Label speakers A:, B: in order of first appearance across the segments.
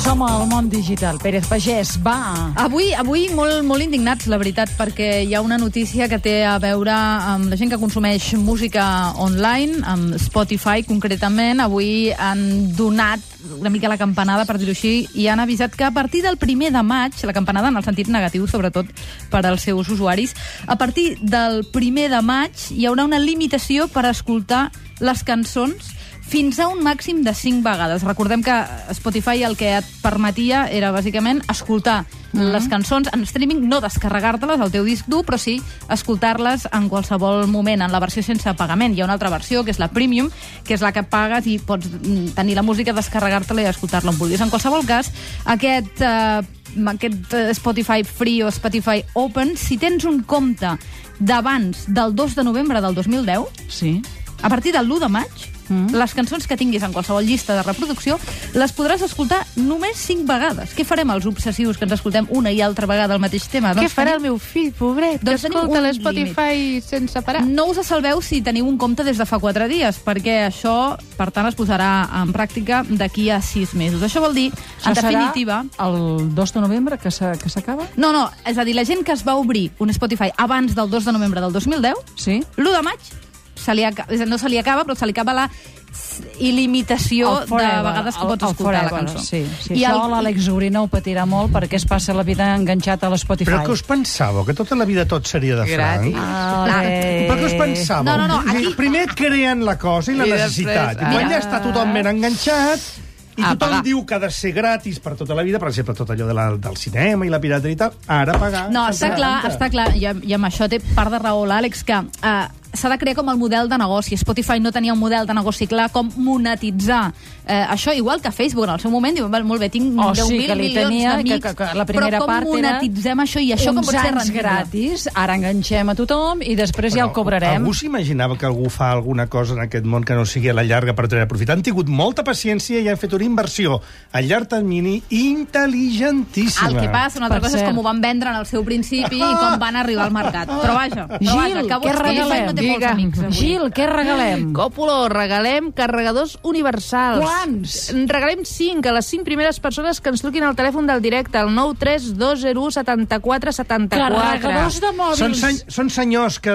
A: som al món digital. Pérez Pagès, va!
B: Avui, avui molt, molt indignats, la veritat, perquè hi ha una notícia que té a veure amb la gent que consumeix música online, amb Spotify concretament. Avui han donat una mica la campanada, per dir-ho així, i han avisat que a partir del primer de maig, la campanada en el sentit negatiu, sobretot per als seus usuaris, a partir del primer de maig hi haurà una limitació per escoltar les cançons fins a un màxim de 5 vegades. Recordem que Spotify el que et permetia era, bàsicament, escoltar mm -hmm. les cançons en streaming, no descarregar-te-les al teu disc dur, però sí escoltar-les en qualsevol moment, en la versió sense pagament. Hi ha una altra versió, que és la Premium, que és la que pagues i pots tenir la música, descarregar-te-la i escoltar-la on vulguis. En qualsevol cas, aquest... Eh, aquest eh, Spotify Free o Spotify Open, si tens un compte d'abans del 2 de novembre del 2010,
A: Sí.
B: a partir del 1 de maig, mm. les cançons que tinguis en qualsevol llista de reproducció les podràs escoltar només 5 vegades. Què farem els obsessius que ens escoltem una i altra vegada el mateix tema?
C: Què farà el meu fill, pobret,
B: Doncs
C: que
B: tenim
C: escolta
B: un
C: l'Spotify sense parar?
B: No us salveu si teniu un compte des de fa 4 dies, perquè això, per tant, es posarà en pràctica d'aquí a 6 mesos. Això vol dir, en
A: Això serà
B: definitiva...
A: El 2 de novembre, que s'ha- que s'acaba?
B: No, no, és a dir, la gent que es va obrir un Spotify abans del 2 de novembre del 2010
A: Sí.
B: L'1 de maig se li aca- és a dir, no se li acaba, però se li acaba la s- il·limitació
A: El forever,
B: de vegades que
A: el-
B: pots
A: el
B: escoltar la
A: forever,
B: cançó.
A: Sí, sí
B: I
A: I això
B: el-
A: l'Àlex Orina ho patirà molt perquè es passa la vida enganxat a l'Spotify.
D: Però què us pensàveu? Que tota la vida tot seria de franc?
C: Gratis.
A: Ale.
D: Però què us pensàveu?
B: No, no, no, aquí-
D: Primer creen la cosa i la
C: I després,
D: necessitat. I
C: ah.
D: quan ja està tothom ben enganxat, i
C: A
D: tothom
C: pagar.
D: diu que ha de ser gratis per tota la vida, per exemple, tot allò de la, del cinema i la pirateria i tal, ara pagar...
B: No, està
D: s'ha
B: clar,
D: d'aguantar.
B: està clar, i, amb- i amb això té part de raó l'Àlex, que eh, s'ha de crear com el model de negoci. Spotify no tenia un model de negoci clar, com monetitzar eh, això, igual que Facebook en el seu moment, diu, "Val, molt bé, tinc
A: Oh,
B: 10.000
A: sí, que li
B: milions
A: tenia,
B: d'amics,
A: que- que- que la primera
B: però com
A: part era
B: monetitzem això i això com
A: Uns
B: pot ser
A: anys
B: rendible?
A: gratis, ara enganxem a tothom i després ja el cobrarem.
D: Algú s'imaginava que algú fa alguna cosa en aquest món que no sigui a la llarga per treure profit. Han tingut molta paciència i han fet una inversió a llarg termini intel·ligentíssima.
B: El que passa, una altra
A: Per
B: cosa és
A: cert.
B: com ho van vendre en el seu principi i com van arribar al mercat. Però vaja,
A: Gil,
B: però vaja, que
A: què
B: Spotify No té
A: regalem?
B: molts amics, avui.
A: Gil, què regalem?
C: Còpolo, regalem carregadors universals.
A: Quants?
C: En Regalem 5 a les 5 primeres persones que ens truquin al telèfon del directe, al 93201 74 74.
A: Carregadors de
D: Són,
A: mòbils.
D: sen són senyors que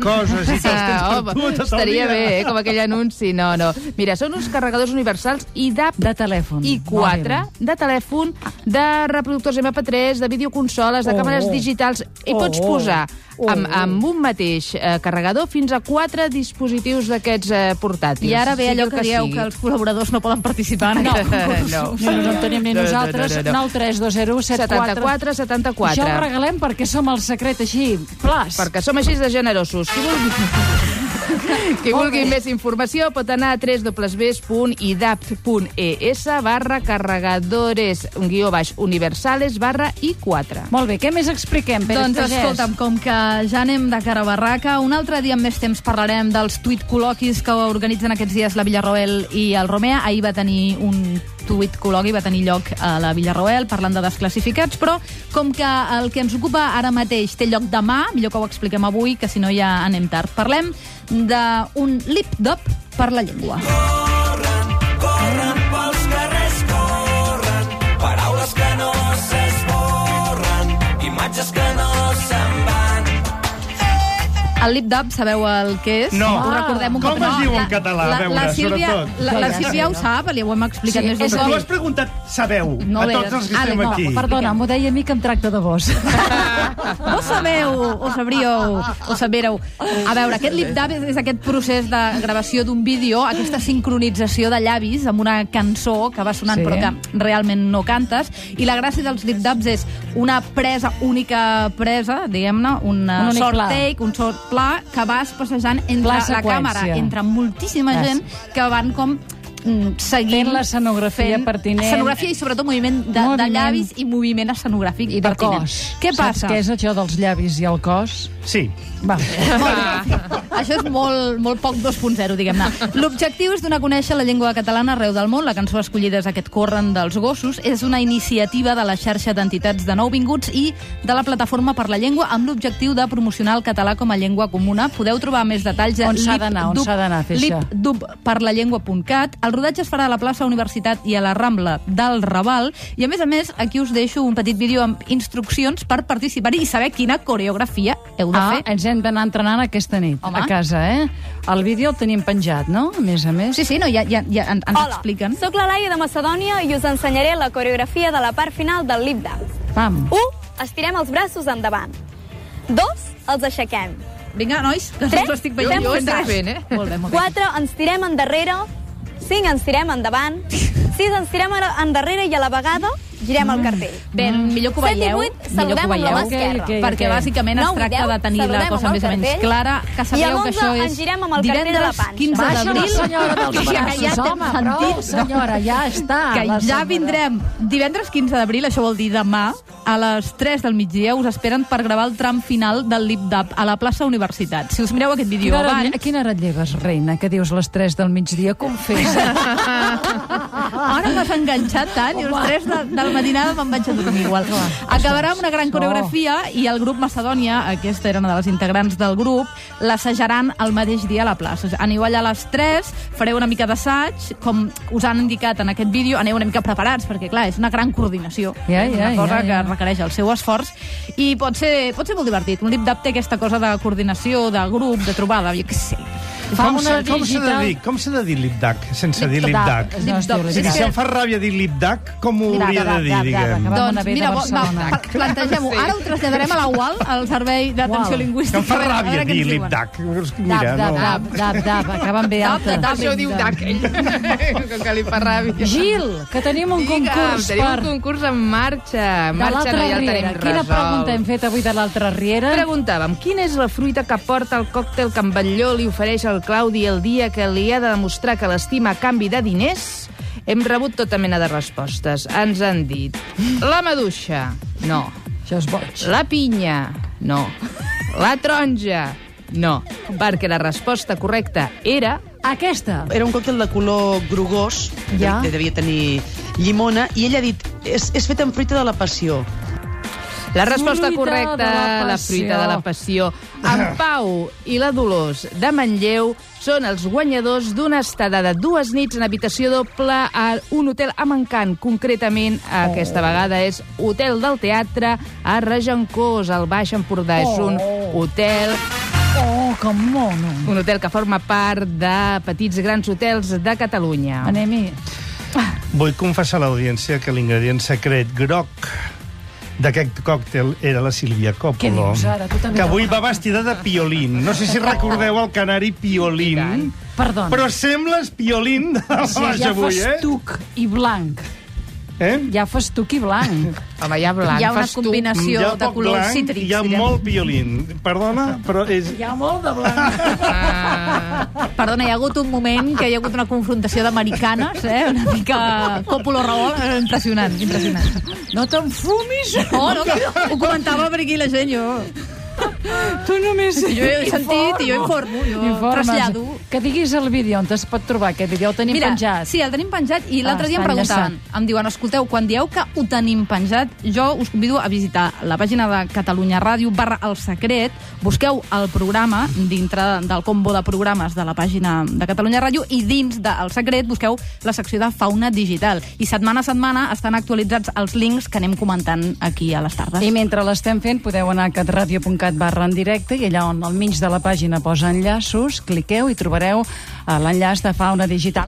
D: coses i te'ls tens
C: Ah,
D: per tu
C: home,
D: tota la
C: estaria
D: vida.
C: bé, eh, com aquell anunci. No, no. Mira, són uns carregadors universals i d'app
A: De telèfon.
C: i 4 de telèfon, de reproductors MP3, de videoconsoles, de
A: Oh.
C: càmeres digitals. Hi pots
A: Oh.
C: posar
A: Oh.
C: amb, amb un mateix eh, carregador fins a 4 dispositius d'aquets eh, portàtils.
B: I ara ve
C: Sigui
B: allò
C: el
B: que dieu
C: sigui.
B: que els col·laboradors no poden participar en
A: No,
B: aquest concurs.
A: no, no, no en tenim ni
C: No, no,
A: nosaltres.
C: no, no, no.
A: 9 3 2 0 7 4
C: 74, 74.
A: Això ho regalem perquè som el secret així, plas.
C: perquè som així de generosos. Qui vulgui, qui vulgui més informació pot anar a www.idapt.es barra carregadores guió baix universales barra i4.
A: Molt bé, què més expliquem, Pérez
B: Doncs
A: Pagès?
B: escolta'm, com que ja anem de cara a barraca, un altre dia amb més temps parlarem dels tuit col·loquis que organitzen aquests dies la Villarroel i el Romea. Ahir va tenir un tuit col·loqui, va tenir lloc a la Villarroel, parlant de desclassificats, però com que el que ens ocupa ara mateix té lloc demà, millor que ho expliquem avui, que si no ja anem tard. Parlem d'un lip-dop per la llengua.
E: Corren pels carrers, corren, paraules que no s'esborren, imatges que no se'n van.
B: El lip-dub, sabeu el que és?
D: No.
B: Ho recordem un
D: Com
B: cop. No,
D: es diu en
B: la-
D: català?
B: La,
D: A veure,
B: la, Sílvia,
D: sobretot.
B: la, la
A: Sí,
B: Sílvia
A: sí,
B: ho sap, li ho hem explicat
A: Sí,
B: més d'un
A: és
D: Però tu
A: el-
B: cop.
D: has preguntat, sabeu,
B: No
D: a
B: ho
D: tots
B: deia.
D: els que
B: Ale,
D: estem
B: no,
D: aquí.
A: Perdona, m'ho deia a mi que em tracta de vos.
B: Vos sabeu, o sabríeu, o sabereu. A veure, aquest lip-dub és, és aquest procés de gravació d'un vídeo, aquesta sincronització de llavis amb una cançó que va sonant
A: Sí.
B: però que realment no cantes. I la gràcia dels lip-dubs és una presa, única presa, diguem-ne, una
A: Un únic
B: sort
A: pla.
B: take, un sort pla, que vas passejant entre
A: Pla
B: la
A: seqüència.
B: càmera, entre moltíssima
A: Gràcies.
B: gent que van com mm, seguint
A: Fent l'escenografia
B: fent
A: pertinent.
B: escenografia i sobretot moviment de, de
A: Moviment.
B: llavis i moviment escenogràfic
A: I de
B: pertinent.
A: cos.
B: Què
A: Saps
B: passa?
A: què és això dels llavis i el cos?
D: Sí.
A: Va.
B: Molt bé. Això és molt, molt poc 2.0, diguem-ne. L'objectiu és donar a conèixer la llengua catalana arreu del món. La cançó escollida és aquest Corren dels Gossos. És una iniciativa de la xarxa d'entitats de nouvinguts i de la Plataforma per la Llengua amb l'objectiu de promocionar el català com a llengua comuna. Podeu trobar més detalls a
A: On s'ha d'anar, on s'ha d'anar a fer això?
B: lipdubperlallengua.cat. El rodatge es farà a la plaça Universitat i a la Rambla del Raval. I, a més a més, aquí us deixo un petit vídeo amb instruccions per participar-hi i saber quina coreografia heu de
A: Ah,
B: fer.
A: ens hem d'anar entrenant aquesta nit
B: Home.
A: a casa, eh? El vídeo el tenim penjat, no? A més a més.
B: Sí, sí, no, ja, ja, ja en- ens expliquen.
F: sóc la Laia de Macedònia i us ensenyaré la coreografia de la part final del lip dance.
A: Pam.
F: 1. Estirem els braços endavant. 2. Els aixequem.
B: Vinga, nois, que
F: Tres,
B: us estic
F: Jo-
B: veient.
F: jo ho estic
C: fent, eh?
B: Molt bé, molt bé.
F: 4. Ens tirem endarrere. 5. Ens tirem endavant. 6. Ens tirem ara- endarrere i a la vegada girem
B: Mm.
F: el cartell.
B: Bé, millor que ho
F: Set i
B: veieu,
F: vuit,
B: millor
F: saludem
B: que ho
F: amb la
B: veieu,
F: mà esquerra.
A: Ok, ok,
B: perquè
A: ok.
B: bàsicament es
F: Nou i
B: tracta
F: deu,
B: de tenir la
F: saludem
B: cosa
F: amb
B: més o
F: el
B: menys
F: cartell.
B: clara, que
F: I
B: sabeu
F: amb
B: que
F: onze
B: això és
F: ens girem amb el cartell de la
B: divendres
F: panxa.
B: 15
A: Baixa la
B: d'abril.
A: senyora dels braços,
B: ja t'hem
A: home, prou,
B: sentit.
A: senyora, ja està, la
B: Que ja
A: senyora.
B: vindrem. Divendres 15 d'abril, això vol dir demà, a les 3 del migdia us esperen per gravar el tram final del Lip Dab a la plaça Universitat. Si us mireu aquest vídeo
A: Quina hora,
B: abans...
A: a quina hora et lleves, reina, que dius les 3 del migdia? Confessa.
B: Ara m'has enganxat tant, i a les 3 de, del matinada me'n vaig a dormir igual. Acabarà amb una gran coreografia i el grup Macedònia, aquesta era una de les integrants del grup, l'assajaran el mateix dia a la plaça. O sigui, Aneu allà a les 3, fareu una mica d'assaig, com us han indicat en aquest vídeo, aneu una mica preparats, perquè clar, és una gran coordinació.
A: Ja,
B: és
A: ja,
B: una
A: ja,
B: cosa
A: ja.
B: que requereix el seu esforç i pot ser, pot ser molt divertit. Un lip-dub té aquesta cosa de coordinació, de grup, de trobada, jo què sé.
A: Fa
D: com
A: una
D: s'ha- com s'ha de
A: digital.
D: dir? Com s'ha de dir lipdac, sense dir lipdac?
A: No, es diu
D: Si
A: lipdac.
D: si em fa ràbia dir lipdac, com ho hauria de dir, diguem?
A: Vam anar
B: Doncs
A: bé de
B: mira, bo- va,
A: Barcelona.
B: pa- plantegem-ho. Ara ho traslladarem a la UAL, al Servei d'Atenció
A: Ual.
D: Que
B: Lingüística.
D: em fa
B: A veure- a veure
D: ràbia
B: què
D: dir
B: ens diuen.
D: lipdac. Mira,
A: dab,
D: no.
A: dab, dab, dab, acaben bé
B: Dab,
A: alta.
B: dab,
A: Dab,
B: dab.
C: Això ho diu Dac, ell. Com que li fa ràbia.
A: Gil, que tenim un
C: Digue'm,
A: concurs
C: tenim un
A: per...
C: concurs en marxa. En
A: De
C: marxa
A: l'altra
C: no ja el
A: Riera.
C: tenim
A: Quina
C: resolt.
A: pregunta hem fet avui de l'altra Riera?
C: Preguntàvem, quina és la fruita que porta el còctel que en Batlló li ofereix al Claudi el dia que li ha de demostrar que l'estima a canvi de diners? Hem rebut tota mena de respostes. Ens han dit la maduixa, no.
A: Això és boig.
C: La pinya, no. La taronja, no. Perquè la resposta correcta era
A: Aquesta.
G: Era un còctel de color grogós,
A: Ja.
G: ja. que devia tenir llimona, i ella ha dit, és, és fet amb fruita de la passió.
C: La resposta
A: Fruita
C: correcta,
A: de la
C: la,
A: passió.
C: fruita de la passió. En Pau i la Dolors de Manlleu són els guanyadors d'una estada de dues nits en habitació doble a un hotel a Mancant. Concretament,
A: Oh.
C: aquesta vegada és Hotel del Teatre a Regencós, al Baix Empordà. És un hotel
A: Oh, que mono.
C: un hotel que forma part de petits grans hotels de Catalunya.
A: Anem-hi.
D: Vull confessar a l'audiència que l'ingredient secret groc d'aquest còctel era la Sílvia
A: Què
D: Coppolo.
A: dius ara? Tu també
D: Que avui
A: te-
D: va vestida de piolín. No sé si recordeu el canari piolín.
A: Perdona.
D: Però sembles piolín de la
A: Si
D: baixa
A: eh? Doncs. ja
D: avui, eh?
A: festuc i blanc.
D: eh?
A: Ja festuc i blanc.
C: Home, ja blanc,
B: Hi ha una
C: fas tu.
B: combinació
D: Hi ha
B: de
D: Mm, poc
B: colors
D: blanc,
B: cítrics. eh?
D: Hi ha
B: direm.
D: molt piolín. Perdona, però és...
A: Hi ha molt de blanc.
B: Perdona, hi ha hagut un moment que hi ha hagut una confrontació d'americanes, eh? una mica Còpolo Raül, eh, impressionant, impressionant.
A: No t'enfumis.
B: Oh, no, ho comentava per aquí la gent, jo.
A: Tu només...
B: Jo he sentit i jo informo, jo trasllado.
A: Que diguis el vídeo on es pot trobar aquest vídeo. El tenim
B: Mira,
A: penjat.
B: sí, el tenim penjat i l'altre
A: Ah,
B: dia em
A: està
B: preguntaven, em diuen, escolteu, quan dieu que ho tenim penjat, jo us convido a visitar la pàgina de Catalunya Ràdio barra El Secret, busqueu el programa dintre del combo de programes de la pàgina de Catalunya Ràdio i dins del Secret busqueu la secció de Fauna Digital. I setmana a setmana estan actualitzats els links que anem comentant aquí a les tardes.
A: I mentre l'estem fent, podeu anar a catradio.cat barra en directe i allà on al mig de la pàgina posa enllaços, cliqueu i trobareu eh, l'enllaç de fauna digital.